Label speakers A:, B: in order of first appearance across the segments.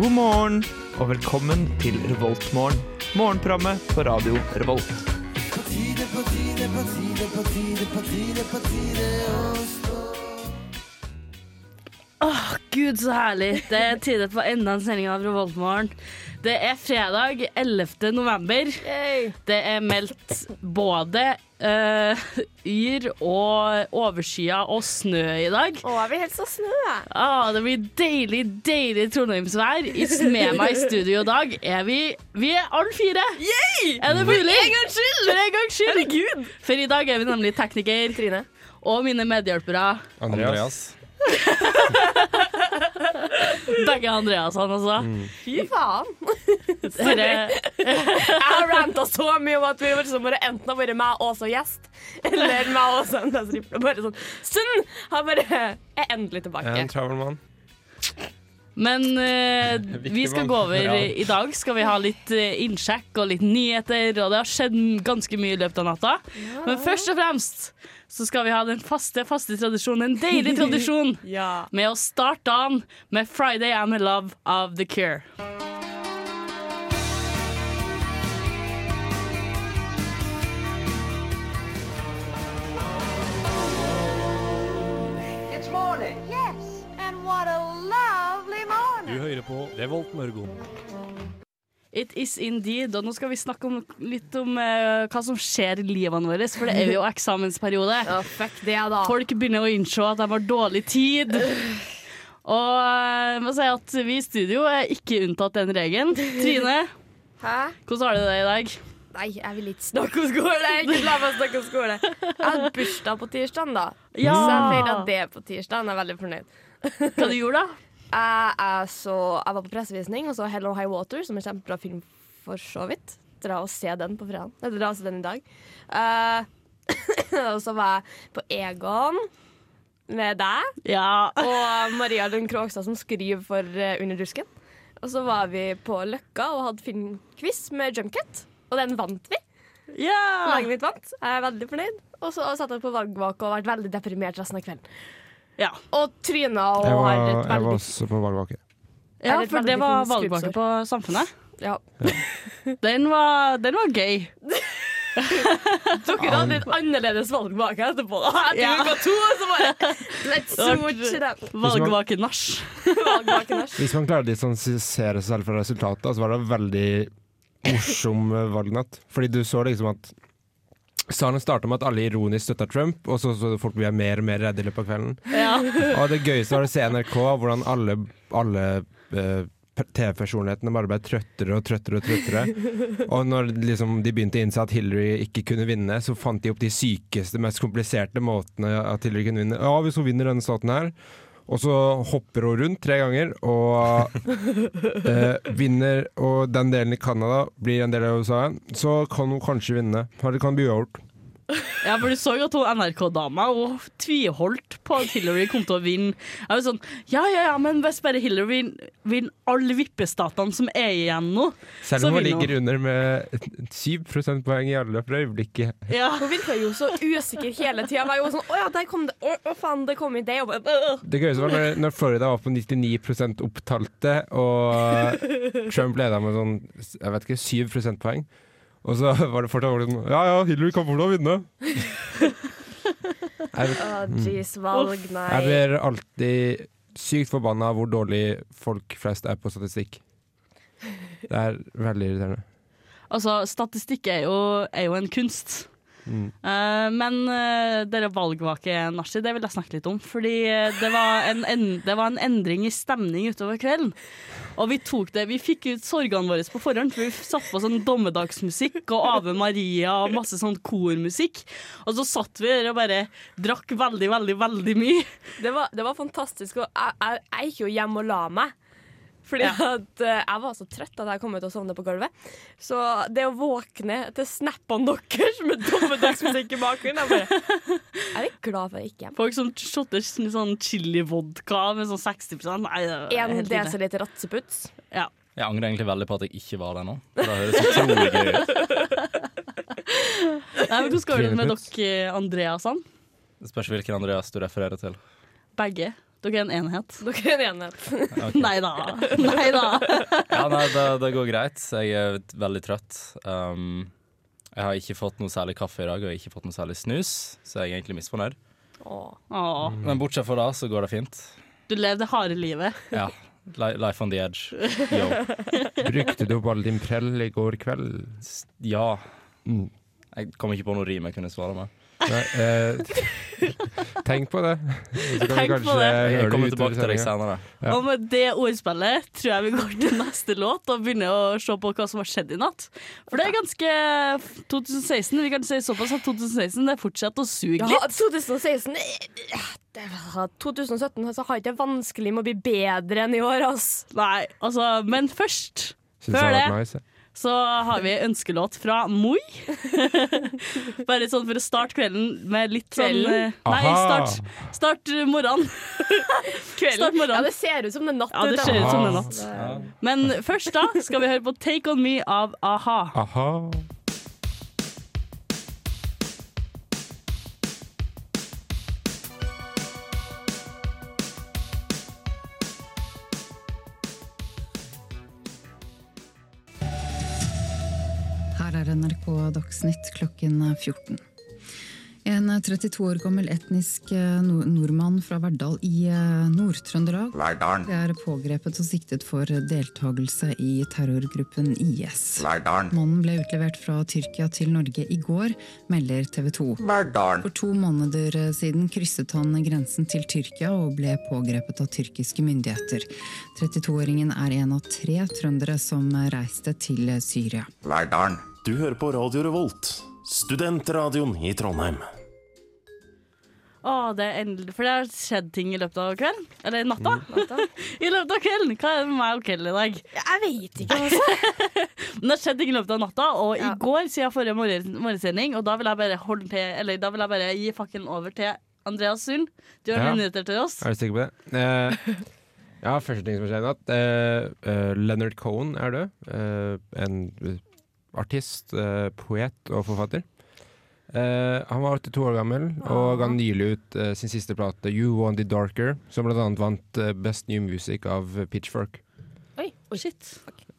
A: God morgen og velkommen til Revoltmorgen. Morgenprogrammet på radio Revolt.
B: Åh, Gud, så herlig. Det er tide på enda en sending av Revoltmorgen. Det er fredag 11. november. Det er meldt både eh, yr og overskya og snø i dag.
C: Å, jeg blir helt så snø. jeg.
B: Ah, det blir deilig, deilig trondheimsvær. I- Med meg i studio i dag er vi Vi er alle fire! Er det mulig? For en gangs skyld! For en gangs skyld. For i dag er vi nemlig tekniker
C: Trine.
B: og mine medhjelpere.
D: Andreas.
B: Begge Andreasene, altså.
C: Fy faen.
B: Dere-
C: Jeg har ranta så mye om at vi liksom bare enten har vært meg og også gjest, eller meg og også en leseriple. Bare sånn Sunn har bare er endelig tilbake.
D: Jeg er en travel mann.
B: Men eh, vi skal gå over
D: Ja.
B: i dag. Skal vi ha litt eh, innsjekk og litt nyheter, og det har skjedd ganske mye i løpet av natta. Men først og fremst så skal vi ha den faste, faste tradisjonen, en deilig tradisjon,
C: Ja.
B: med å starte dagen med 'Friday I'm in Love' av The Cure.
E: It's morning. Yes, and what a lovely morning.
D: hører på Revolt Mørgon.
B: It is indeed. Og nå skal vi snakke om, litt om eh, hva som skjer i livene våre, for det er jo eksamensperiode.
C: Å, fuck det, da.
B: Folk begynner å innse at de har dårlig tid. Og eh, jeg må si at vi i studio er ikke unntatt den regelen. Trine,
C: Hæ?
B: hvordan har du det i dag?
C: Nei, jeg vil ikke snakke om skole. Ikke la meg snakke om skole. Jeg hadde bursdag på tirsdag, da.
B: Ja.
C: Så jeg feira det på tirsdag. Jeg er veldig fornøyd.
B: Hva du gjorde da?
C: Jeg, er så, jeg var på pressevisning og så Hello High Water, som er en kjempebra film for så vidt. Dra og se den på fredag. Nei, dra og se den i dag. Eh, og så var jeg på Egon med deg
B: Ja.
C: og Maria Lund Krogstad, som skriver for eh, Under dusken. Og så var vi på Løkka og hadde filmquiz med Junkett, og den vant vi.
B: Ah.
C: Laget mitt vant. Jeg er veldig fornøyd. Og så satt jeg på valgvake og vært veldig deprimert resten av kvelden.
B: Ja.
C: Og tryna og
D: Jeg
C: har et
D: var, jeg var
C: veldig
D: også på valgvake.
B: ja,
C: Er det et
B: for det
C: veldig
B: var
C: fint
B: valgvake
C: skrubbsår?
B: på Samfunnet.
C: ja,
B: Den var, den var gøy.
C: Dere hadde et annerledes valg bak etterpå. Da. Etter
B: Ja.
C: uka to så bare Let's switch it up.
B: Valgvake-nach.
C: Valg bak en asj.
D: Hvis man klarer å distansere seg selv fra resultatet, så var det en veldig morsom eh, valgnatt. Fordi du så liksom at Salen starta med at alle ironisk støtta Trump, og så så du folk blir mer og mer redde i løpet av kvelden.
B: Ja.
D: Og det gøyeste var å se NRK, hvordan alle, alle eh, p- TV-personlighetene bare ble trøttere og trøttere og trøttere. Og når liksom, de begynte å innse at Hillary ikke kunne vinne, så fant de opp de sykeste, mest kompliserte måtene at Hillary kunne vinne. Ja, hvis hun vinner denne staten her. Og så hopper hun rundt tre ganger og eh, vinner. Og den delen i Canada blir en del av USA igjen. Så kan hun kanskje vinne. Eller det kan bli uavgjort.
B: Ja, for du så jo at hun NRK-dama Hun tviholdt på at Hillary kom til å vinne. Jeg var sånn Ja, ja, ja, men hvis bare Hillary vinner vin alle vippestatene som er igjen nå
D: Selv
B: Så
D: om hun
B: vinner hun.
D: ligger under med 7 prosentpoeng i alle for øyeblikket.
B: Ja.
C: Hun virka jo så usikker hele tida. Var jo sånn Å ja, der kom det Å, å faen, det kom i det. Og bare, «Åh».
D: Det gøyeste var når, når Florida var på 99 opptalte, og Trump leda med sånn jeg vet ikke, 7 prosentpoeng. Og så var det fortsatt var det sånn Ja ja, Hillary kommer til å vinne. Jeg,
C: Å, jeez,
B: Mm.
C: valg, nei.
D: jeg blir alltid sykt forbanna av hvor dårlig folk flest er på statistikk. Det er veldig irriterende.
B: Altså, statistikk er jo, er jo en kunst. Eh, men uh, dere valgvake-nachspiel, det vil jeg snakke litt om. Fordi eh, det var, en, en, det var en endring i stemning utover kvelden. Og vi tok det, vi fikk ut sorgene våre på forhånd, for vi satte på sånn dommedagsmusikk og Ave Maria og masse sånn kormusikk. Og så satt vi der og bare drakk veldig, veldig, veldig mye.
C: Det, var, det var fantastisk. Og jeg, jeg, jeg gikk jo hjem og la meg. Fordi at eh, jeg var så trøtt at jeg kom ut og sovnet på gulvet. Så det å våkne til snappene deres med dommedagsmusikk i bakgrunnen Jeg bare Jeg er litt glad for at jeg gikk hjem.
B: Folk som shotter sånn chili-vodka med sånn 60 Nei, det er
C: En
B: helt ille.
C: desiliter ratseputs.
B: Ja.
F: Jeg angrer egentlig veldig på at jeg ikke var der nå. For da høres det utrolig gøy ut.
B: Nei, men hvordan går det med
D: Kvinneputs.
B: sånn? dere, Andreasan?
F: Det Spørs hvilken Andreas du refererer til.
B: Begge. Dere er en enhet.
C: Dere er en enhet.
B: Nei da. Nei da.
F: Ja, nei, det, det går greit. Jeg er veldig trøtt. Um, jeg har ikke fått noe særlig kaffe i dag, og jeg har ikke fått noe særlig snus, så jeg er egentlig misfornøyd.
C: Åh.
B: Åh,
F: Men bortsett fra det, så går det fint.
B: du lever det harde livet.
F: Ja. Li- Life on the edge. Yo.
D: Brukte du opp all din prell i går kveld?
F: S- Ja.
D: Mm.
F: Jeg kom ikke på noe rim jeg kunne svare med.
D: Nei, eh, tenk på det. Så kan vi
B: Tenk på
D: kanskje
B: det.
D: høre
F: Jeg
D: utover
F: kommer tilbake til deg
D: sendingen.
F: senere.
D: Ja.
B: Og med det ordspillet tror jeg vi går til neste låt og begynner å se på hva som har skjedd i natt. For det er ganske 2016. Vi kan si såpass at 2016 det fortsetter å suge
C: Ja,
B: litt.
C: 2016 eh, det var- 2017 så altså, har jeg ikke vanskelig med å bli bedre enn i år, ass.
B: Nei, altså, men først
D: Synes det
B: Før
D: har
B: det.
D: vært nice. jeg.
B: så har vi ønskelåt fra Moi. Bare sånn for å starte kvelden med litt sånn
C: Kvelden?
B: eh, Nei,
D: Aha.
B: start, start eh, morgenen. Start morgenen.
C: Ja, det ser ut som det er natt.
B: Ja, det
C: ute.
B: ser ut som det er
D: Aha.
B: natt. Men først da skal vi høre på Take On Me av a-ha.
D: Aha.
G: Her er NRK Dagsnytt klokken 14. En 32 år gammel etnisk eh, nor- nordmann fra Verdal i eh, Nord-Trøndelag
H: Verdalen,
G: er pågrepet og siktet for deltakelse i terrorgruppen IS.
H: Verdalen,
G: Mannen ble utlevert fra Tyrkia til Norge i går, melder TV 2.
H: Verdalen,
G: For to måneder siden krysset han grensen til Tyrkia og ble pågrepet av tyrkiske myndigheter. 32-åringen er en av tre trøndere som reiste til Syria.
H: Verdalen.
I: Du hører på Radio Revolt, studentradioen i Trondheim.
B: Å, det er endelig For det har skjedd ting i løpet av kvelden. Eller natta.
C: Mm.
B: I løpet av kvelden. Hva er det med meg og kvelden i dag?
C: Jeg vet ikke, altså.
B: Men det har skjedd ting i løpet av natta, og
C: Ja.
B: i går siden forrige morgen- morgensending, og da vil jeg bare holde til Eller da vil jeg bare gi fakken over til Andreas Sund. Du har
D: Ja.
B: noen nyheter til oss.
D: Er du sikker på det? Eh, ja, første ting som har skjedd i natt. Eh, eh, Leonard Cohen er død. Eh, en eh, artist, eh, poet og forfatter. Eh, han var 82 år gammel og ga nylig ut eh, sin siste plate, You Want It Darker, som bl.a. vant eh, Best New Music av eh, Pitchfork.
C: Oi, oh,
B: Shit.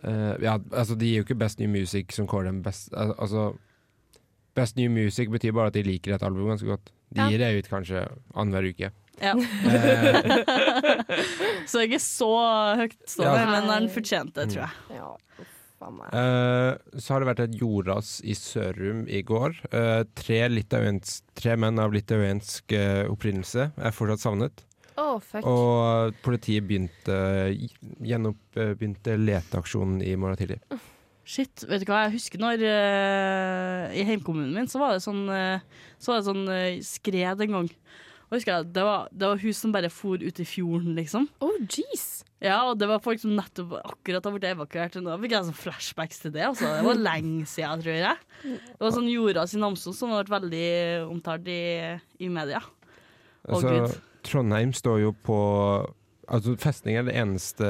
D: Eh, ja, altså De gir jo ikke Best New Music som kårer dem best al- Altså Best New Music betyr bare at de liker et album ganske godt. De
C: Ja.
D: gir det ut kanskje annenhver uke.
B: Ja.
D: Eh,
B: Så jeg er ikke så høyt stående,
D: Ja.
B: men han fortjente det, tror jeg.
C: Ja, faen meg.
D: eh, så har det vært et jordras i Sørum i går. Eh, tre, litauens- tre menn av litauensk eh, opprinnelse er fortsatt savnet.
C: Å, fuck.
D: Og politiet begynte gjenoppbegynte leteaksjonen i morgen tidlig.
B: Shit, vet du hva, jeg husker når eh, I heimkommunen min så var det sånn, eh, så var det sånn eh, skred en gang. Og husker jeg, det var, det var hus som bare for ut i fjorden, liksom.
C: Oh, jeez.
B: Ja, og det var folk som nettopp akkurat har blitt evakuert. og Da fikk jeg sånn flashbacks til det. Altså. Det var lenge siden, tror jeg. Det var sånn jordras i Namsos som har vært veldig omtalt i, i media. Å,
D: Altså,
B: Gud.
D: Trondheim står jo på Altså, festning er det eneste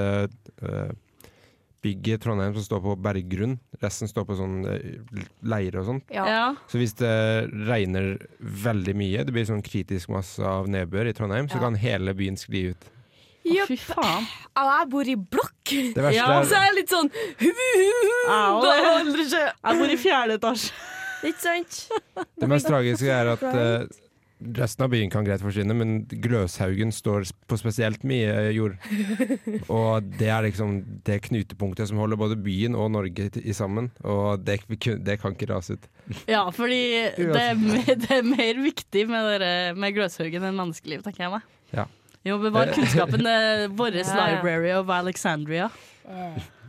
D: eh, bygget i Trondheim som står på berggrunn. Resten står på sånn eh, leire og sånn.
C: Ja.
B: Ja.
D: Så hvis det regner veldig mye, det blir sånn kritisk masse av nedbør i Trondheim, så
C: Ja.
D: kan hele byen skli ut.
B: Å,
C: Jupp.
B: Fy faen.
C: Ja, jeg bor i blokk,
D: Det verste
B: Ja,
C: så
D: er
C: jeg er litt sånn
B: Au,
C: Det
B: det-
C: holder ikke.
B: Jeg bor i fjerde etasje.
C: Ikke sant?
D: Det mest tragiske er at eh, resten av byen kan greit forsvinne, men Gløshaugen står s- på spesielt mye eh, jord. Og det er liksom det knutepunktet som holder både byen og Norge t- i sammen, og det, vi kun- det kan ikke rase ut.
B: Ja, fordi det er, mer, det er mer viktig med, dere, med Gløshaugen enn menneskeliv, tenker jeg meg.
D: Ja.
B: Vi må bevare kunnskapen eh, vår
C: Ja.
B: library of Alexandria.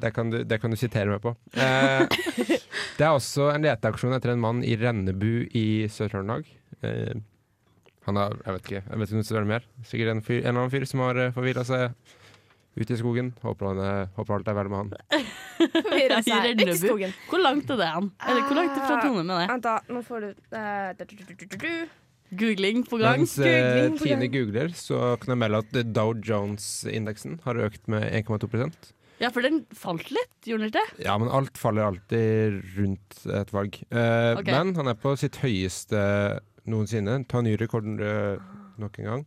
D: Det kan, du, det kan du sitere meg på. Eh, det er også en leteaksjon etter en mann i Rennebu i Sør-Trøndelag. Eh, han har, jeg vet ikke, jeg vet ikke noe større mer. Sikkert en, fyr, en eller annen fyr som har uh, forvirra seg ute i skogen. Håper, han, eh, håper alt er vel med han.
C: Forvirra
B: I
C: seg.
B: Rennebu.
C: Ikke skogen.
B: Hvor langt er det han? Eller hvor langt fra Trondheim er det?
C: Vent, da. Nå får du eh, du- du- du- du- du- du.
B: Googling på gang.
D: Mens eh,
C: Googling på
D: Tine
C: gang.
D: googler, så kan jeg melde at eh, Dow Jones-indeksen har økt med 1,2
B: Ja, for den falt litt, gjorde den ikke det?
D: Ja, men alt faller alltid rundt et valg. Eh,
B: Ok.
D: Men han er på sitt høyeste noensinne. Ta ny rekord eh, nok en gang. Eh,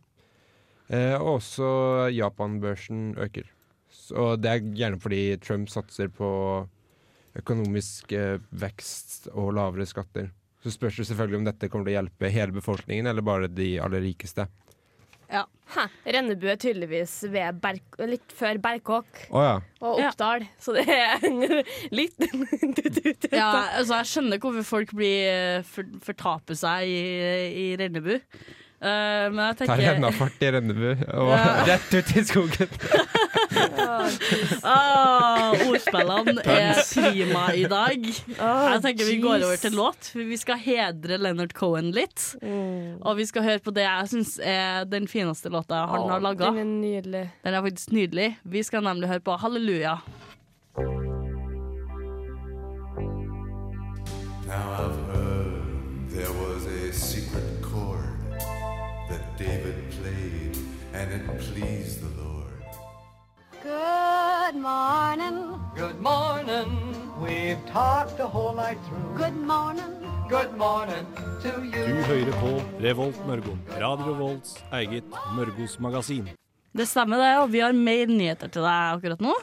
D: Eh, og også Japan-børsen øker. Så- Og det er gjerne fordi Trump satser på økonomisk eh, vekst og lavere skatter. Så spørs det selvfølgelig om dette kommer til å hjelpe hele befolkningen, eller bare de aller rikeste.
C: Hæ, Rennebu er tydeligvis ved Berk litt før Berkåk
D: Å ja.
C: og
B: Ja.
C: Oppdal, så det er litt
B: Ja, altså jeg skjønner ikke hvorfor folk blir eh, for, fortaper seg i, i Rennebu. Eh, men jeg
D: Tar
B: tenker
D: hevnafart i Rennebu og
B: Ja.
D: rett ut i skogen.
B: Ah, Ordspillene er
F: Puns.
B: prima i dag. Jeg tenker vi går
C: jeez.
B: over til låt. for Vi skal hedre Leonard Cohen litt.
C: Mm.
B: Og vi skal høre på det jeg syns er den fineste låta han har laga.
C: Den er nydelig.
B: Den er faktisk nydelig. Vi skal nemlig høre på Halleluja.
H: Now I've heard there was a secret chord that David played, and it pleased the Lord.
E: Good morning.
J: Good morning. We've talked the whole night through.
E: Good morning.
J: Good morning to you.
I: hører på Revolt Mørgo. Radio Revolts eget Mørgos magasin.
B: Det stemmer, det. Og vi har mer nyheter til deg akkurat nå.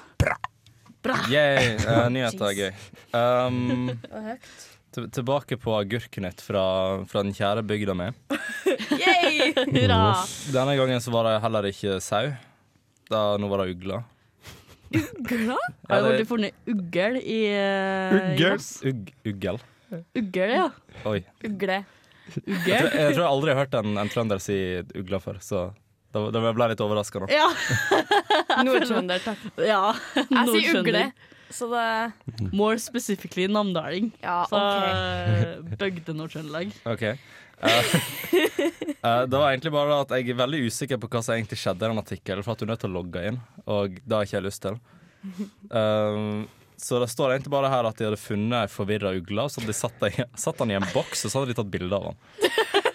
F: Yay, eh, nyheter er gøy. Um, til- tilbake på agurknytt fra, fra den kjære bygda mi.
B: Yay! Hurra!
F: Denne gangen så var det heller ikke sau. Da, nå var det ugla.
B: Har det
F: det-
B: blitt funnet ugl i eh, i oss?
F: Ugg, uggel.
B: Ugl, ja.
F: Oi.
C: Ugle.
F: Jeg,
B: Ugl.
F: tror- jeg tror jeg aldri har hørt en, en trønder si ugla før, så da, da ble jeg litt overraska nå.
B: Ja.
C: Nordtrønder, takk.
B: ja.
C: Jeg sier
B: Nordtrønder.
C: ugle, så det
B: More specifically namdaling.
C: Ja,
B: Så
C: OK.
B: okay. bøgde Nord-Trøndelag.
F: Ok Eh, eh, Det var egentlig bare at jeg er veldig usikker på hva som egentlig skjedde i den artikkelen, for at du er nødt til å logge inn, og det har ikke jeg lyst til. Um, så det står egentlig bare her at de hadde funnet ei forvirra ugle, og så hadde de satt, deg, satt den i en boks, og så hadde de tatt bilde av den.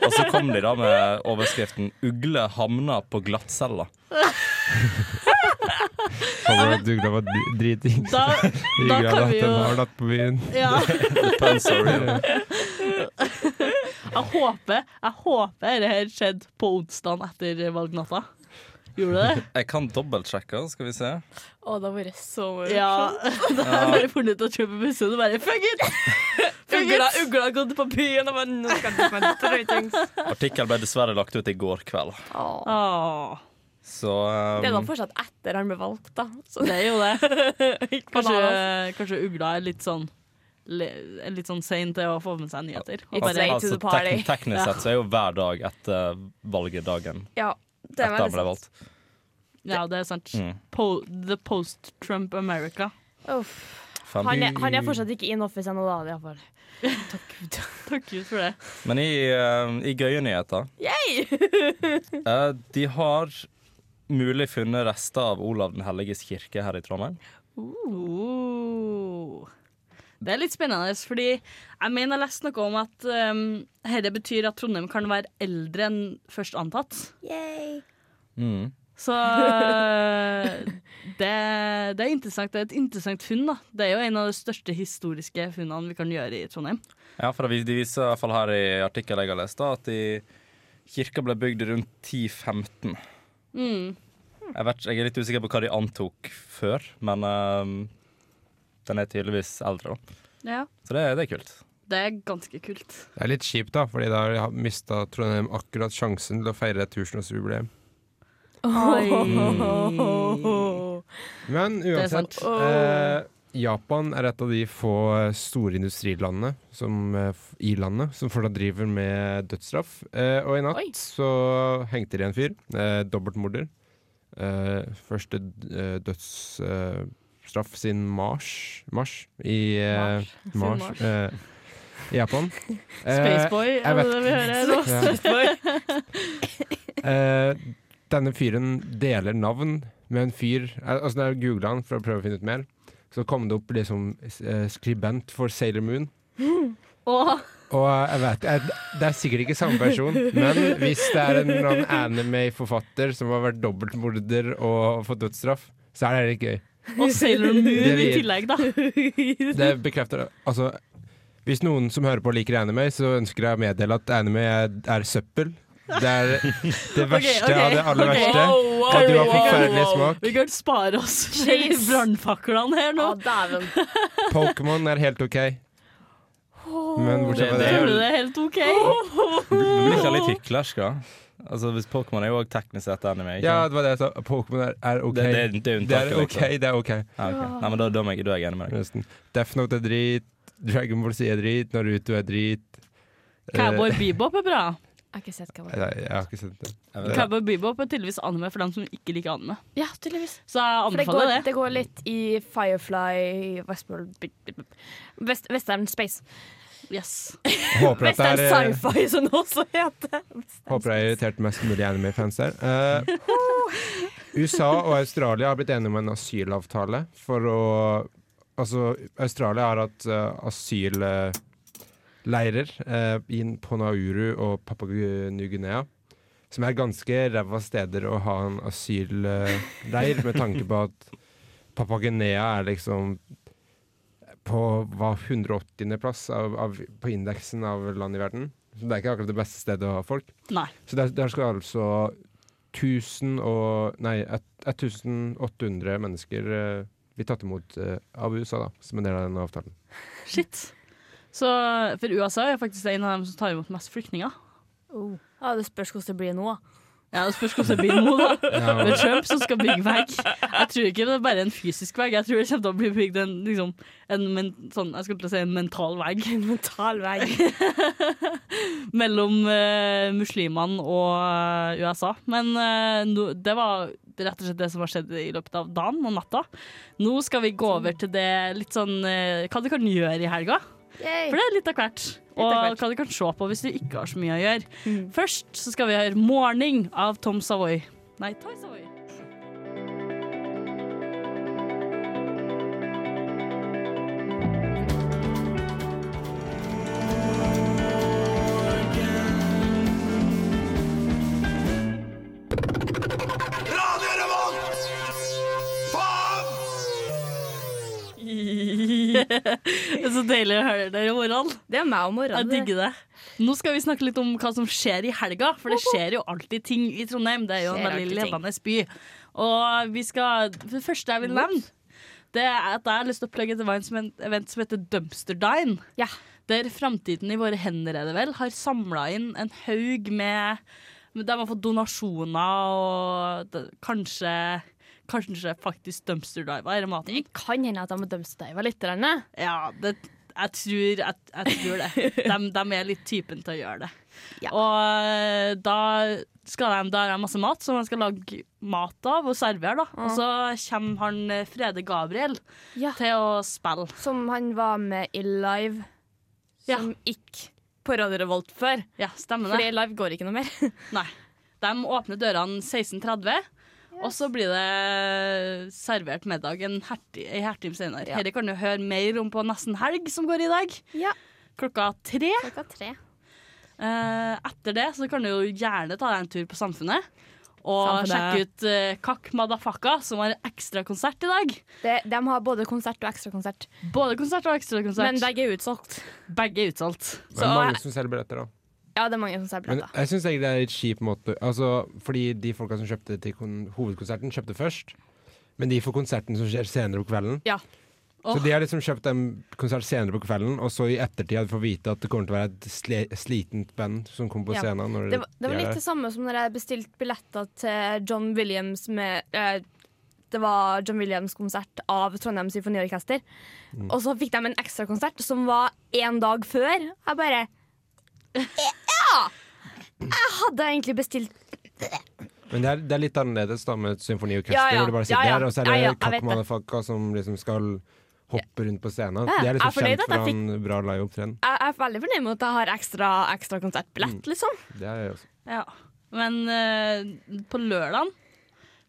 F: Og så kom de da med overskriften 'Ugle hamna på glattcella'.
D: Håper at du glad var driting.
B: Da, da kan vi jo
D: datt på byen.
B: ja,
F: Pun so real.
B: Jeg håper Jeg håper det her skjedde på onsdagen etter valgnatta. Gjorde det?
F: Jeg kan dobbeltsjekke, skal vi se.
C: Å, det har vært så
B: Ja.
C: morsomt.
B: Da har jeg bare funnet ut å kjøpe bussen og bare fuck it! Fuck
C: Ugla,
B: it!
C: ugla har gått på byen og bare Nå skal jeg drikke meg drøytings.
F: Artikkelen ble dessverre lagt ut i går kveld,
C: Åh.
B: Åh,
F: så
C: Det er da
F: um,
C: fortsatt etter han ble valgt, da. Så
B: det er jo det.
C: ikke
B: Kanskje,
C: banalt.
B: kanskje ugla er litt sånn le- er Litt sånn sein til å få med seg nyheter. Og
C: It's
B: bare,
C: late to the party.
F: tekn- altså, teknisk sett så er jo hver dag etter valgedagen
C: Ja, det er
F: etter han
C: veldig
F: ble
C: sant.
F: valgt.
B: ja, det er sant.
F: Mm.
B: Po the post Trump America.
C: Uff.
F: Fem.
C: Han, er, han er fortsatt ikke in office ennå, da, iallfall.
B: Takk Gud for det.
F: Men i, eh, i gøye nyheter eh, De har mulig funnet rester av Olav den helliges kirke her i Trondheim.
B: Oh. Det er litt spennende, fordi jeg mener jeg leste noe om at um, dette betyr at Trondheim kan være eldre enn først antatt.
F: Mm.
B: Så øh, det, det er interessant. Det er et interessant funn. da. Det er jo en av de største historiske funnene vi kan gjøre i Trondheim.
F: Ja, for det vis- De viser i hvert fall her i artikkelen jeg har lest, da, at de, kirka ble bygd rundt 1015.
C: Mm.
F: Jeg, vet, jeg er litt usikker på hva de antok før, men eh, den er tydeligvis eldre. da. Så det, det er kult.
B: Det er ganske kult.
D: Det er litt kjipt, da, fordi da har de mista Trondheim akkurat sjansen til å feire tusenårsjubileum. Men
B: er
D: uansett eh, Japan er et av de få store industrilandene som, eh, f- i landet som fortsatt driver med dødsstraff. Eh, og i natt
C: Oi.
D: så hengte de en fyr. Eh, Dobbeltmorder. Eh, første d- eh, dødsstraff eh, straff siden mars Mars i eh,
B: Mars. Siden
D: mars,
B: mars.
D: eh, i Japan. Eh,
B: Spaceboy,
D: jeg
B: er det
D: vet-
B: det vi hører nå?
D: Ja. Eh, denne fyren deler navn med en fyr eh, Altså Når jeg googla han for å prøve å finne ut mer, så kom det opp liksom eh, skribent for Sailor Moon.
B: Åh,
D: Og eh, jeg vet jeg, Det er sikkert ikke samme person, men hvis det er en eller annen anime-forfatter som har vært dobbeltmorder og fått dødsstraff, så er det litt gøy.
B: og Sailor Moon i
D: vi-
B: tillegg, da.
D: Det bekrefter det. Altså, hvis noen som hører på liker anime, så ønsker jeg å meddele at anime er, er søppel. Det er det
B: Ok,
D: verste
B: ok,
D: av det
B: ok.
D: aller verste. at du har forferdelig smak.
B: Vi kan spare oss til
C: Jeez.
B: brannfaklene her nå.
C: Dæven.
D: Pokémon er helt OK. Men bortsett fra
F: Det-
D: det
B: Tror du det er helt OK?
F: Blir ikke han litt hyklersk, da? Altså, hvis Pokémon er jo også teknisk sett anime. Ikke?
D: Ja,
F: sant?
D: det var det jeg sa. Pokémon er, er OK.
F: det, det, er- det er
D: Det er
F: unntaket,
D: OK,
F: liksom.
D: det er OK.
F: Ja, ok. Nei, men da, da, er jeg- da er jeg enig med deg.
D: Forresten. Death Note er drit. Dragon Ball Z er drit. Naruto er drit. Eh,
B: Cowboy Bebop er bra.
C: Jeg har ikke sett hva det var.
D: Nei, jeg har ikke sett det.
F: Jeg vet ikke.
B: Cowboy Bebop er tydeligvis anime for dem som ikke liker anime.
C: Ja, tydeligvis.
B: Så jeg
C: For det
B: anbefaler
C: går,
B: det.
C: det går litt i Firefly Westworld b- b- b- West, Western Space.
B: Yes.
D: Håper at
C: Western
D: det er, eh,
C: sci-fi, som det også heter.
D: håper jeg har irritert mest mulig anime-fans der. Eh, USA og Australia har blitt enige om en asylavtale for å Altså, Australia har hatt eh, asylleirer inn på Nauru eh, og Papua Ny-Guinea. Som er ganske ræva steder å ha en asylleir, med tanke på at Papua Guinea er liksom på hva 180. plass av, av, på indeksen av land i verden. Så det er ikke akkurat det beste stedet å ha folk.
B: Nei.
D: Så der, der skal altså 1000 og Nei, et- 1800 mennesker eh, bli tatt imot eh, av USA, da, som en del av den avtalen.
B: Shit. Så for USA er faktisk en av dem som tar imot mest flyktninger.
C: Oh. Ja, det spørs hvordan det blir nå.
B: Ja, Det spørs hvordan det blir nå, da.
D: Ja,
B: Med Trump som skal bygge vegg. Jeg tror ikke det er bare en fysisk vegg. Jeg tror det kommer til å bli bygd en, liksom, en, men, sånn, jeg skulle til å si en mental vegg.
C: En mental vei.
B: mellom eh, muslimene og eh, USA. Men eh, nå- det var rett og slett det som har skjedd i løpet av dagen og natta. Nå skal vi gå over til det litt sånn eh, hva du kan gjøre i helga. For
C: Yay.
B: det er litt av hvert.
C: av
B: Og
C: hvert. Mm.
B: hva du kan se på hvis du ikke har så mye å gjøre. Først så skal vi høre 'Morning' av Tom Savoy. Nei, Toy Savoy. Det er så deilig å høre dere i morgen.
C: Det er meg om
B: Jeg
C: morgenen. det.
B: digger det. Nå skal vi snakke litt om hva som skjer i helga, for det skjer jo alltid ting i Trondheim. Det er jo en
C: Skjer
B: veldig
C: alltid ting.
B: levende by. Og vi skal Det første jeg vil nevne, det er at jeg har lyst til å plugge et event som- event som heter Dumpster Dine.
C: Ja.
B: Der Framtiden i våre hender, er det vel, har samla inn en haug med De har fått donasjoner og det, kanskje Kanskje faktisk dumpster diver i maten.
C: Det kan hende at jeg må dumpsteive litt. eh. Renne.
B: Ja, det, jeg, tror, jeg, jeg tror det. De, er litt typen til å gjøre det.
C: Ja.
B: Og da skal de, da har de masse mat som de skal lage mat av og servere. Da. Og så kommer han eh, Frede Gabriel
C: Ja.
B: til å spille.
C: Som han var med i Live,
B: Ja.
C: som gikk på Radio Revolt før.
B: Ja, stemmer
C: Fordi
B: det?
C: Live går ikke noe mer.
B: Nei. De åpner dørene 16.30. Og så blir det servert middag en herti- en halvtime senere.
C: Ja.
B: Dette kan du høre mer om på Nesten helg, som går i dag.
C: Ja.
B: Klokka tre.
C: Klokka tre.
B: Eh, etter det så kan du jo gjerne ta deg en tur på Samfunnet. Og
C: Samfunnet.
B: sjekke ut eh, Kakk Madafaka, som har ekstrakonsert i dag.
C: De, de har både konsert og ekstrakonsert,
B: Både konsert og ekstrakonsert.
C: men begge er utsolgt.
B: begge er utsolgt.
D: det er mange som selger billetter, da.
C: eh, Ja, det er mange som selger
D: Men
C: billetter.
D: jeg syns egentlig det er litt kjip måte Altså, Fordi de folka som kjøpte til kon hovedkonserten, kjøpte først. Men de får konserten som skjer senere på kvelden.
C: Ja.
B: Åh.
D: Så de har liksom kjøpt en konsert senere på kvelden, og så i ettertid får vite at det kommer til å være et sle slitent band som kommer på
C: Ja.
D: scenen. Når
C: Det var, det var
D: de er
C: litt
D: der.
C: det samme som når jeg bestilte billetter til John Williams med eh, Det var John Williams' konsert av Trondheim Symfoniorkester. Og så fikk de en ekstrakonsert som var én dag før. Jeg bare Ja! Jeg hadde egentlig bestilt
D: Men det er, det er litt annerledes da med et symfoniorkester,
C: Ja, ja.
D: hvor du bare sitter
C: Ja, ja.
D: der, og så er
C: Ja,
D: det
C: ja, jeg vet
D: Kakk
C: det.
D: Madafaka som liksom skal hoppe rundt på scenen.
C: Ja,
D: De er
C: jeg er
D: liksom
C: fornøyd
D: kjent
C: at jeg
D: for en bra liveopptreden.
C: Jeg jeg er veldig fornøyd med at jeg har ekstra, ekstra konsertbillett, liksom.
D: Det er jeg også.
B: Ja. Men eh, på lørdagen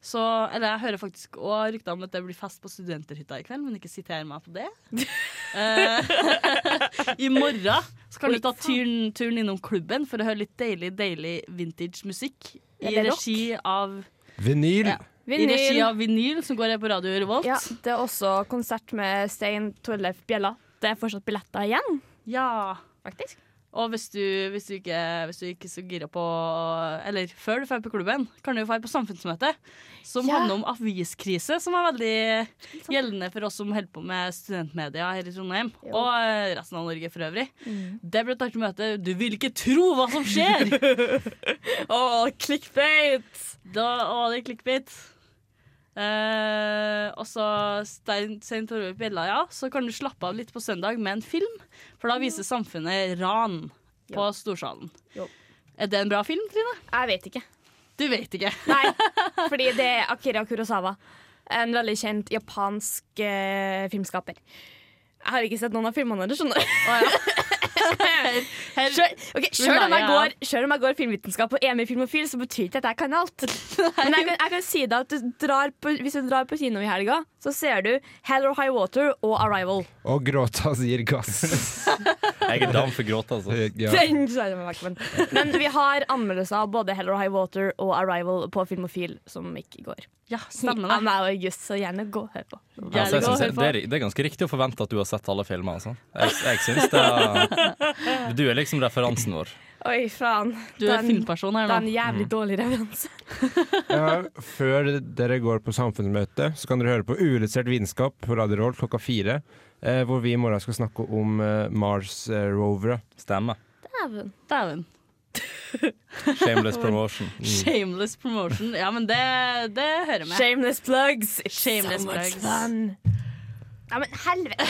B: så Eller jeg hører faktisk òg rykter om at det blir fest på studenterhytta i kveld, men ikke siter meg på det. Eh, I morgen så kan du ta turen, turen innom klubben for å høre litt deilig, deilig vintage musikk i
C: Eller rock.
B: regi av
D: Vinyl!
B: Ja. I regi av vinyl, som går her på Radio Revolt.
C: Ja, det er også konsert med Stein Torleif Bjella. Det er fortsatt billetter igjen,
B: Ja.
C: faktisk.
B: Og hvis du, hvis du ikke hvis du ikke er så gira på Eller før du drar på klubben, kan du jo dra på samfunnsmøte, som
C: Ja.
B: handler om aviskrise, som er veldig gjeldende for oss som holder på med studentmedia her i Trondheim, og eh, resten av Norge for øvrig. Det blir et artig møte. Du vil ikke tro hva som skjer! Å, clickbait! Da, å, det er clickbait. Eh, og så Stein, Stein Torve Bjella, ja. Så kan du slappe av litt på søndag med en film, for da viser samfunnet Ran på
C: Jo.
B: Storsalen.
C: Jo.
B: Er det en bra film, Trine?
C: Jeg vet ikke.
B: Du vet ikke.
C: Nei, fordi det er Akira Kurosawa. En veldig kjent japansk eh, filmskaper. Jeg har ikke sett noen av filmene hennes, skjønner du. Sjøl ok, selv om, jeg går- selv om jeg går filmvitenskap og er med i Filmofil, så betyr ikke det at jeg kan alt. Men jeg kan, jeg kan si deg at du drar på, hvis du drar på kino i helga, så ser du Hell or High Water og Arrival.
D: Og gråta sier gass.
F: Jeg er down for gråte, altså.
D: Ja.
C: Den skjærer meg vekk, men. men vi har anmeldelser av både Hell or High Water og Arrival på Filmofil som gikk i går.
B: Ja, stemmer
C: det. meg og August, så gjerne gå og hør på.
F: Ja, altså, jeg synes det, det, er, det er ganske riktig å forvente at du har sett alle filmer. Altså. Jeg, jeg synes det er, Du er liksom referansen vår.
C: Oi, faen.
B: Du er filmperson her nå.
C: Det er en jævlig dårlig referanse.
D: Ja, før dere går på samfunnsmøte, så kan dere høre på Uillustrert vitenskap på Radio Roll klokka fire, eh, hvor vi i morgen skal snakke om eh, Mars-rovere.
F: Stemmer.
C: Dæven.
B: Dæven.
F: Shameless promotion. Mm.
B: Shameless promotion. Ja, men det, det hører med.
C: Shameless plugs. It's
B: Shameless
C: so much
B: plugs.
C: fun. Ja, men helvete.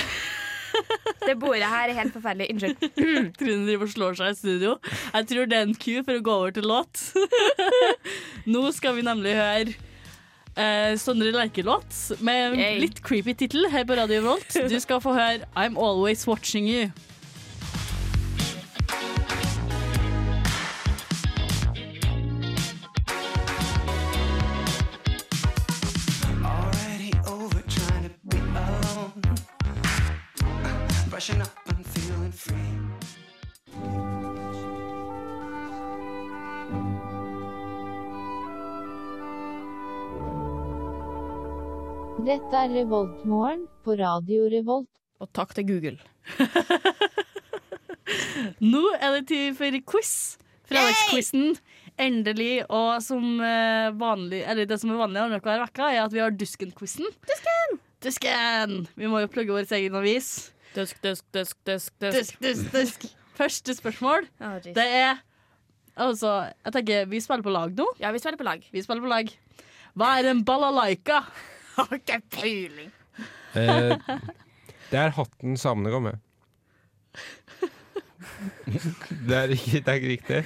C: Det bordet her er helt forferdelig. Unnskyld.
B: Trine driver og slår seg i studio. Jeg tror det er en ku for å gå over til låt. Nå skal vi nemlig høre eh, Sondre Lerche-låt med en
C: Yay.
B: litt creepy tittel her på Radio Volt. Du skal få høre I'm Always Watching You.
J: Already over trying to be alone. Brushing up and feeling free.
K: Dette er Revoltmorgen på Radio Revolt.
C: Og takk til Google.
B: Nå er det tid for quiz. Fredagsquizen. Endelig, og som eh, vanlig Eller det som er vanlig andre hver uke, er at vi har Dusken-quizen. Dusken! Dusken! Vi må jo plugge vår egen avis.
C: Dusk, dusk, dusk, dusk.
B: Dusk, dusk, dusk. Første spørsmål. Det er Altså, jeg tenker vi spiller på lag nå.
C: Ja, vi spiller på lag.
B: Vi spiller på lag. Hva er en balalaika?
C: Har ikke peiling.
D: Eh, det er hatten samene går med. Det er ikke, det er ikke riktig.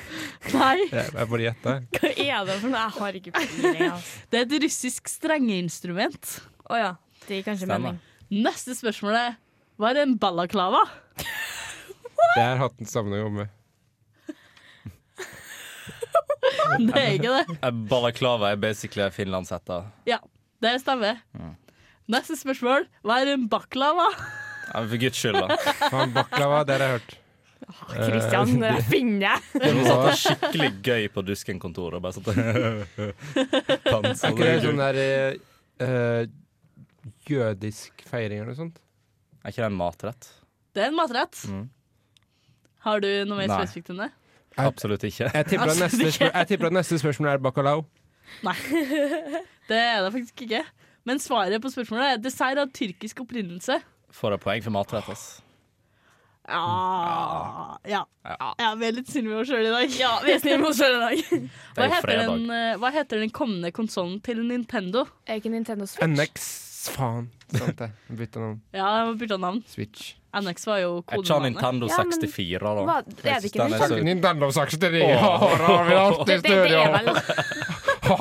B: Nei,
D: Jeg jeg bare gjetta.
C: Hva er det for noe? Jeg har ikke peiling. altså.
B: det er et russisk strengeinstrument.
C: Å ja. Det gir kanskje
F: Stemmer.
C: mening.
B: Neste spørsmål er hva er en balaklava?
D: Det er hatten samene går med.
B: Det er ikke det.
F: Eh, Balaklava er basically finlandshetta.
B: Ja, det stemmer.
F: Mm.
B: Neste spørsmål hva er en baklava?
F: Ja, For guds skyld, da.
D: Faen, baklava, det har jeg hørt.
F: Eh,
C: Kristian, når jeg finner det.
F: Du må sette skikkelig gøy på Dusken-kontoret. og Bare sånn Dans
D: Er ikke
F: og
D: det
F: det-
D: sånn der eh, eh, jødisk feiring eller noe sånt?
F: Er ikke det en matrett?
B: Det er en matrett.
F: Mm.
B: Har du noe mer
F: Nei.
B: spesifikt enn det?
F: Absolutt ikke.
D: Jeg tipper at
C: Altså,
D: neste, spør- jeg tipper at neste spørsmål er bacalao.
B: Det er det faktisk ikke. Men svaret på spørsmålet er dessert av tyrkisk opprinnelse.
F: Får jeg poeng for matrett, ass.
B: Ja. Ja. ja, vi er litt snille med oss sjøl i dag.
C: Ja, vi er snille mot oss selv i dag.
F: Det
B: Hva
F: er jo
B: heter, den,
F: fredag.
B: eh, hva heter den kommende konsollen til Nintendo?
C: Er ikke Nintendo Switch?
D: NX, faen. Sant det. Bytta navn.
B: Ja, jeg må bytte navn.
D: Switch.
B: NX var jo
F: Er ikke han
B: kodenavnet.
F: Nintendo
C: Ja, men-
F: 64, da?
C: Hva- det er det
F: Jeg synes
C: ikke
F: den
C: Nintendo.
F: så-
D: Nintendo-sakseri!
F: Åh.
D: har vi
C: Det,
D: alltid
C: det, det er vel,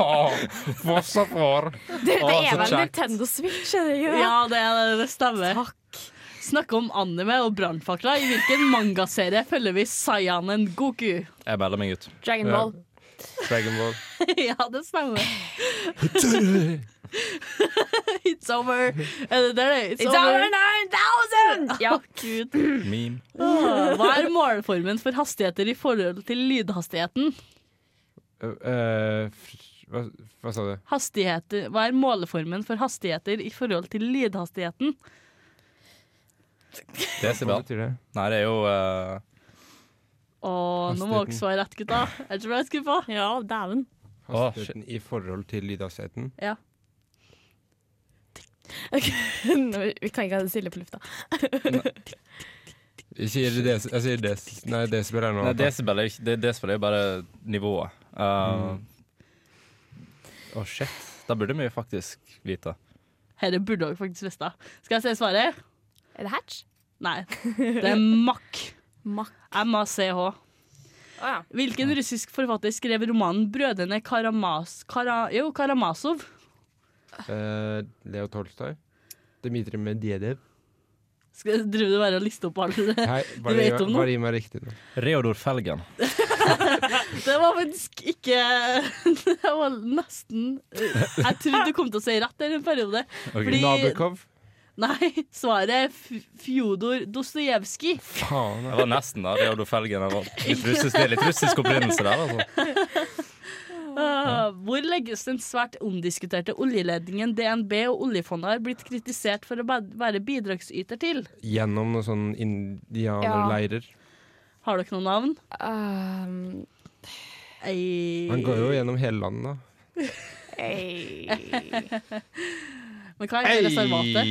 D: Fortsatt var.
C: det, det
F: Å, så
C: er vel
F: kjekt.
C: Nintendo Switch, er det ikke det?
B: Ja, det, er- det stemmer. Takk. Snakke om anime og brannfakler. I hvilken mangaserie følger vi Sayanen Goku?
F: Jeg melder meg ut.
C: Dragon Ball.
D: Dragon Ball.
B: ja, det stemmer. It's over. Er det der det er? It's,
C: It's over 9000! Ja.
B: Å, Gud.
F: Meme.
B: Åh, Hva er måleformen for hastigheter i forhold til lydhastigheten?
D: Eh, fr- hva, hva sa du?
B: Hastigheter, hva er måleformen for hastigheter i forhold til lydhastigheten?
F: Desibel.
D: Hva betyr det?
F: Nei, det er jo eh,
B: Og nå må dere svare rett, gutta. Er dere ikke skuffa? Ja, dæven.
D: Hastigheten i forhold til lydhastigheten.
B: Ja.
C: Nå, vi kan ikke ha det stille på lufta.
D: Jeg sier, des, jeg sier des, nei, desibel er noe
F: Nei,
D: annet.
F: desibel er, jo ikke- det- desibel er jo bare nivået. Å, uh, å, shit. Da burde vi faktisk vite.
B: Dette burde dere faktisk visst. Skal jeg se svaret?
C: Er det hatch?
B: Nei. Det er Mack.
C: Mack.
B: M-A-C-H. Hvilken russisk forfatter skrev romanen 'Brødrene Karamas... Kara, jo, Karamasov'?
D: Eh, Leo Tolstoy. Dmitrij Medvedev.
B: Skal driver du bare og lister opp alle det
D: Hei,
B: du
D: bare, gi
B: vet
D: meg-
B: om
D: bare
B: nå?
D: gi meg riktig nå.
F: Reodor Felgen.
B: Det var faktisk ikke Det var nesten Jeg trodde du kom til å si rett der en periode.
D: Ok.
B: Fordi-
D: Nabokov.
B: Nei, svaret er F- Fjodor Dostojevskij.
D: Faen.
F: Det var nesten da. Reodor Felgen. Det var litt russisk, det er litt russisk opprinnelse der, altså.
B: Ah, hvor legges den svært omdiskuterte oljeledningen DNB og oljefondet har blitt kritisert for å ba- være bidragsyter til?
D: Gjennom noen sånn indianerleirer.
B: Har dere noe navn?
C: Ehm,
D: Han går jo gjennom hele landet, da.
B: Men hva heter reservatet?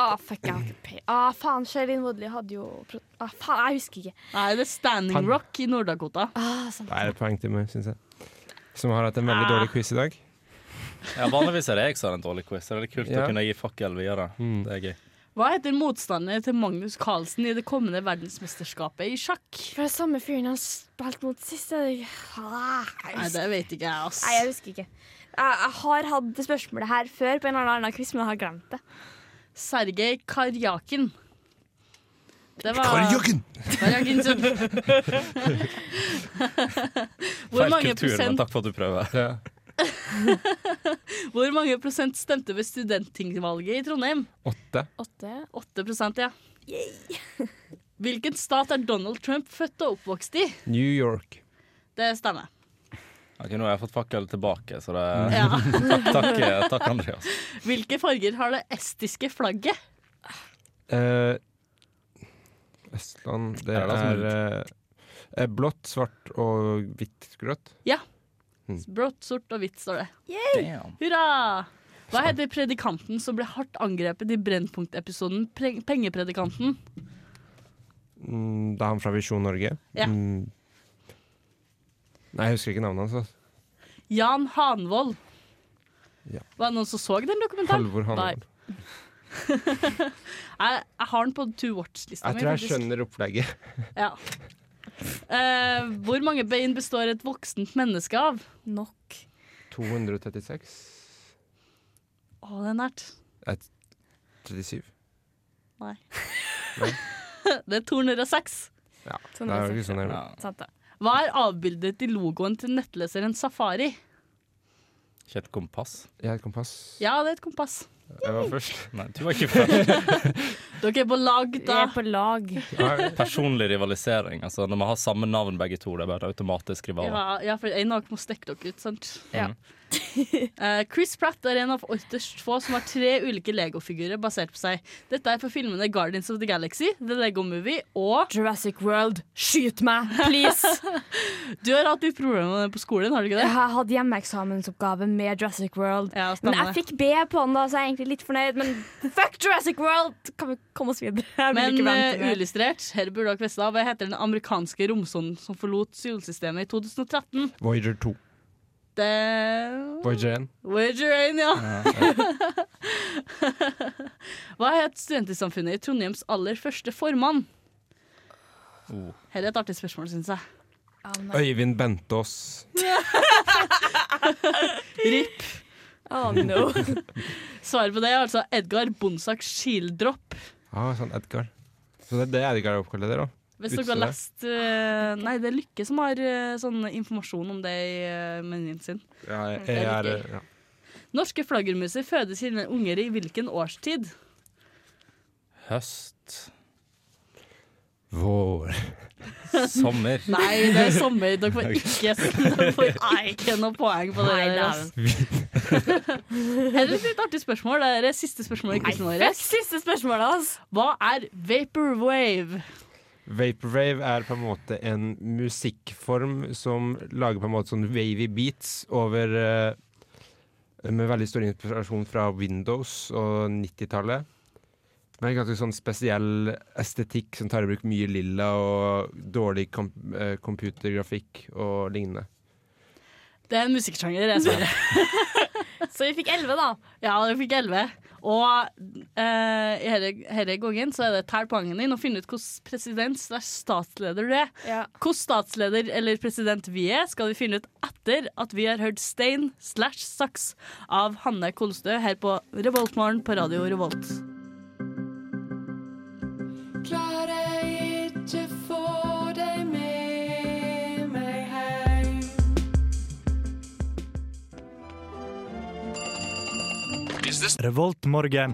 C: Ah, fuck, jeg har ikke pe... Ah, faen, Sherilyn Woodley hadde jo pro- ah, Faen, jeg husker ikke.
B: Nei, det er Standing
D: Han-
B: Rock i Nord-Dakota.
D: Det er et poeng til meg, syns jeg. Som har hatt en veldig dårlig quiz i dag.
F: Ja, vanligvis er det jeg som har en dårlig quiz. Det er litt kult
D: Ja.
F: å kunne gi fakkel videre. Det er gøy.
B: Hva heter motstanderen til Magnus Carlsen i det kommende verdensmesterskapet i sjakk?
C: For det er samme fyren han spilte mot sist. jeg- Ah, jeg
B: Nei,
C: husker-
B: det vet ikke jeg, ass.
C: Nei, jeg husker ikke. Jeg, jeg har hatt det spørsmålet her før på en eller annen quiz, men jeg har glemt det.
B: Sergej Karjakin. Det var
C: Karjakin!
B: Karjakin sin. Hvor
F: Feil
B: mange,
F: kultur, men
B: prosent,
F: takk for at du prøver.
B: hvor mange prosent stemte ved studenttingvalget i Trondheim?
D: Åtte.
B: Åtte. prosent, ja. Hvilken stat er Donald Trump født og oppvokst i?
D: New York.
B: Det stemmer.
F: Ok, Nå har jeg fått fakkel tilbake, så det
B: Ja.
F: takk, takk, eh, takk, Andreas.
B: Hvilke farger har det estiske flagget?
D: Eh, Østland, det altså
F: Er
D: er
F: det da
D: eh, eh, blått, svart og hvitt-grått.
B: Ja.
D: Mm.
B: Blått, sort og hvitt står det.
F: Damn.
B: Hurra! Hva heter predikanten som ble hardt angrepet i Brennpunkt-episoden Pre- Pengepredikanten?
D: Mm, det er han fra Visjon Norge.
B: Ja.
D: Mm. Nei, jeg husker ikke navnet hans. altså.
B: Jan Hanvold.
D: Ja.
B: Var det noen som så den dokumentaren?
D: Halvor Hanvold.
B: Nei. jeg, jeg har den på to watch-lista
D: Jeg tror jeg skjønner opplegget.
B: Ja. Eh, hvor mange bein består et voksent menneske av? Nok.
D: 236?
B: Å, det er nært.
D: Nei, 37?
B: Nei.
D: Nei.
B: det er 206.
D: Ja, det er jo ikke sånn nærmere.
B: Hva er avbildet i logoen til nettleseren Safari?
F: Ikke et kompass.
D: Jeg har et kompass.
B: Ja, det er et kompass.
D: Jeg var først.
F: Nei, du var ikke først.
B: Dere er på lag, da.
C: Jeg er på lag.
F: Personlig rivalisering. Altså, når man har samme navn begge to, det er bare automatisk rivaler.
B: Ja, ja, for en av dere må stikke dere ut, sant?
F: Ja.
B: Eh, Chris Pratt er en av ytterst få som har tre ulike legofigurer basert på seg. Dette er for filmene Guardians of the Galaxy, The Lego Movie og
C: Jurassic World. Skyt meg, please!
B: Du har hatt litt problemer med det på skolen, har du ikke
C: Jeg
B: det?
C: har hatt hjemmeeksamensoppgave med Jurassic World. men
B: stemmer
C: jeg fikk B på den, da, så jeg er egentlig litt fornøyd. Men fuck Jurassic World! Kan vi komme oss videre? Jeg vil
B: Men
C: ikke vente
B: eh,
C: mer.
B: uillustrert, her burde dere visst da, hva heter den amerikanske romsonden som forlot solsystemet i 2013?
D: Voyager 2.
B: Det
D: Voyager 1.
B: Voyager 1, ja. Hva het studentsamfunnet i Trondheims aller første formann?
D: Oh.
B: Her er et artig spørsmål, syns jeg.
D: Øyvind Bentås.
B: RIP.
C: Oh no.
B: Svaret på det er altså Edgar Bonsak Skildropp.
D: Ah, sånn Edgar. Så det er det Edgar er oppkalt etter, da?
B: Hvis dere har
D: Utstedet.
B: lest eh, Nei, det er Lykke som har eh, sånn informasjon om det i uh, menyen sin.
D: Ja, jeg,
B: Det er
D: jeg er,
B: litt
D: E ja.
B: Norske flaggermuser føder sine unger i hvilken årstid?
F: Høst,
D: Vår.
F: sommer.
B: Nei, det er sommer. Dere får ikke, dere får ikke noe poeng på det.
C: Nei,
B: der, ass. Her er et litt artig spørsmål. Det er det siste spørsmålet i quizen vår.
C: Fuck siste spørsmålet, altså.
B: Hva er vaporwave?
D: Vaporwave er på en måte en musikkform som lager på en måte sånn wavy beats over eh, Med veldig stor inspirasjon fra Windows og 90-tallet. Med en ganske sånn spesiell estetikk som tar i bruk mye lilla og dårlig kom eh, computergrafikk og lignende.
B: Det er en musikksjanger, jeg svarer.
C: så vi fikk elleve, da.
B: Ja, vi fikk elleve. Og eh, i denne gangen så er det tell poengene dine og finne ut hvordan president slash statsleder du er. Hvordan statsleder eller president vi er, skal vi finne ut etter at vi har hørt Stein slash Saks av Hanne Kolstø her på Revoltmorgen på Radio Revolt.
J: Klarer ikke få deg med meg hjem.
L: Revolt morgen.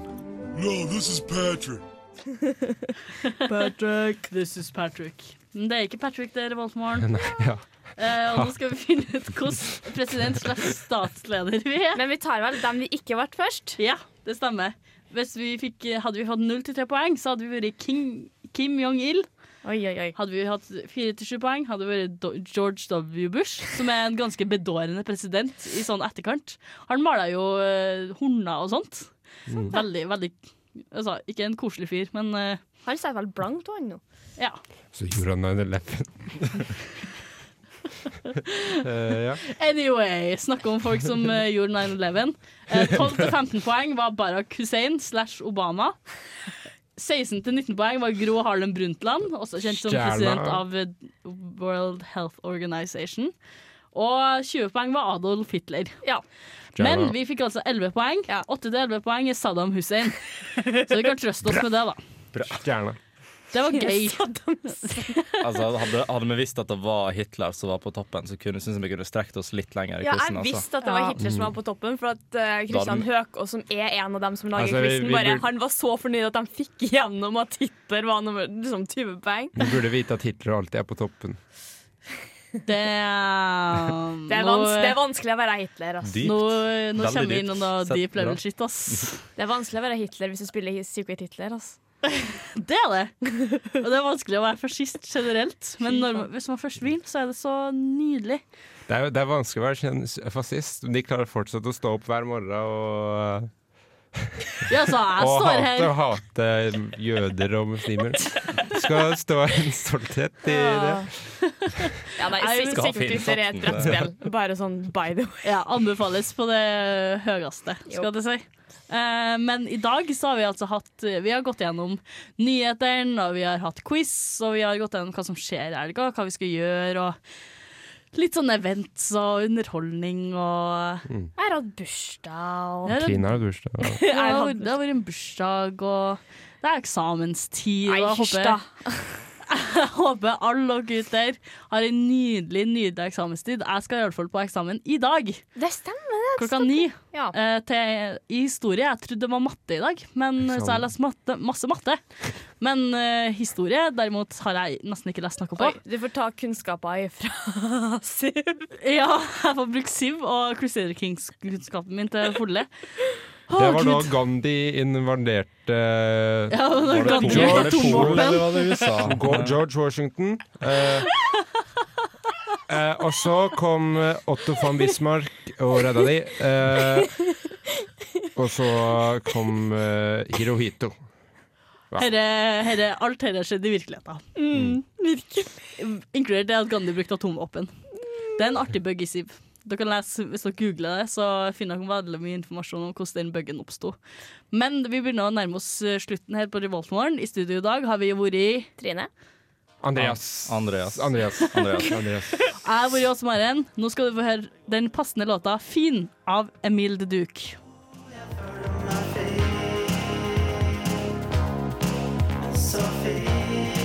J: No, this is Patrick.
B: Patrick, this is Patrick. Men det er ikke Patrick, det er Revoltmorgen.
D: Nei, ja.
B: Eh, og nå skal vi finne ut hvordan president slash statsleder vi er.
C: Men vi tar vel dem vi ikke ble først.
B: Ja, det stemmer. Hvis vi fikk, hadde vi fått 0-3 poeng, så hadde vi vært King, Kim Jong-il. Hadde vi hatt 4-7 poeng, hadde vi vært Do- George W. Bush, som er en ganske bedårende president i sånn etterkant. Han maler jo eh, horner og sånt.
C: Mm.
B: Veldig, veldig altså, Ikke en koselig fyr, men eh,
C: Han ser vel blankt han nå.
B: ja.
D: Så gjorde han 9-11. Eh, ja.
B: Anyway, snakke om folk som eh, gjorde 9-11. Eh, 12-15 poeng var Barack Hussein slash Obama. 16-19 poeng var Gro Harlem Brundtland, også kjent som
J: Stjerna.
B: president av eh, World Health Organization. Og 20 poeng var Adolf Hitler.
J: Stjerna.
B: Men vi fikk altså 11 poeng. 8-11 poeng er Saddam Hussein. Så vi kan trøste oss med det, da.
D: Stjerne.
B: Det var gøy.
F: Altså, hadde, hadde vi visst at det var Hitler som var på toppen, så kunne synes jeg vi kunne strekt oss litt lenger i
C: Ja, jeg
F: quizen. altså.
C: visste at det var Hitler som var på toppen, for at eh, Christian
F: Da
C: Høkås, som er en av dem som lager
F: Altså, vi-
C: quizen,
F: vi
C: bare
F: burde-
C: han var så fornøyd at han fikk igjennom at Hitler var nummer liksom, 20 poeng.
D: Vi burde vite at Hitler alltid er på toppen.
B: Det er,
C: Det er, vans det er vanskelig å være Hitler, ass.
D: Dypt.
B: Nå, nå
D: Veldig
B: kommer vi innom noe
D: dypt. Sett
B: deep level
D: bra.
B: shit, ass.
C: Det er vanskelig å være Hitler hvis du spiller Secret Hitler, ass.
B: Det er det. Og det er vanskelig å være fascist generelt, men når, hvis man først vil, så er det så nydelig.
D: Det er, jo- det er vanskelig å være kjen- fascist, men de klarer fortsatt å stå opp hver morgen og,
B: Ja, så jeg
D: og
B: står
D: hate, og
B: her
D: hate jøder og muslimer. Det skal stå en stolthet i det.
C: Ja, nei,
B: Jeg
C: Secret
D: skal
C: Secret
D: finne
C: Hitler er et
D: satsen.
C: brettspill. Bare sånn by the way.
B: Ja, anbefales på det høyeste, skal det si. Eh, men i dag så har vi altså hatt Vi har gått gjennom nyhetene, og vi har hatt quiz, og vi har gått gjennom hva som skjer i helga, hva vi skal gjøre, og litt sånn events og underholdning og
D: Mm.
C: Jeg har hatt bursdag og
D: Trine har bursdag.
B: Ja, det har vært- det har vært en bursdag, og det er eksamenstid. og jeg
C: Eirsdag.
B: håper, jeg håper alle dere der har en nydelig nydelig eksamenstid. Jeg skal i hvert fall på eksamen i dag.
C: Det stemmer, det.
B: Klokka ni.
C: Ja.
B: eh, til, I historie. Jeg trodde det var matte i dag, men, så har jeg lest matte, masse matte. Men eh, historie derimot har jeg nesten ikke lest noe på.
C: Oi, du får ta kunnskaper ifra Siv.
B: Ja, jeg får brukt Siv og Crusader Kings-kunnskapen min til fulle. Å,
D: Det var da
B: Gud.
D: Gandhi
B: Ja,
D: invaderte
B: det var da
D: Var det
B: Gandhi
D: Polen?
B: hadde
D: Var det Polen,
B: atomvåpen.
D: eller var det USA? Go- George Washington. eh, eh, og så kom eh, Otto von Bismarck og redda de. eh, og så kom eh, Hirohito. Ja.
B: Herre, herre, alt dette skjedde i virkeligheten. Virkelig. Inkludert det at Gandhi brukte atomvåpen. Det er en artig bug i Siv. Dere kan lese, hvis dere googler det, så finner dere veldig mye informasjon om hvordan den buggen oppsto. Men vi begynner å nærme oss eh, slutten her på Revoltmorgen. I studio i dag har vi vært i
C: Trine.
D: Andreas.
F: Andreas.
D: Andreas.
F: Andreas.
B: Jeg har vært i Åse Maren. Nå skal du få høre den passende låta 'Fin' av Emil de Duke.
J: Sophie.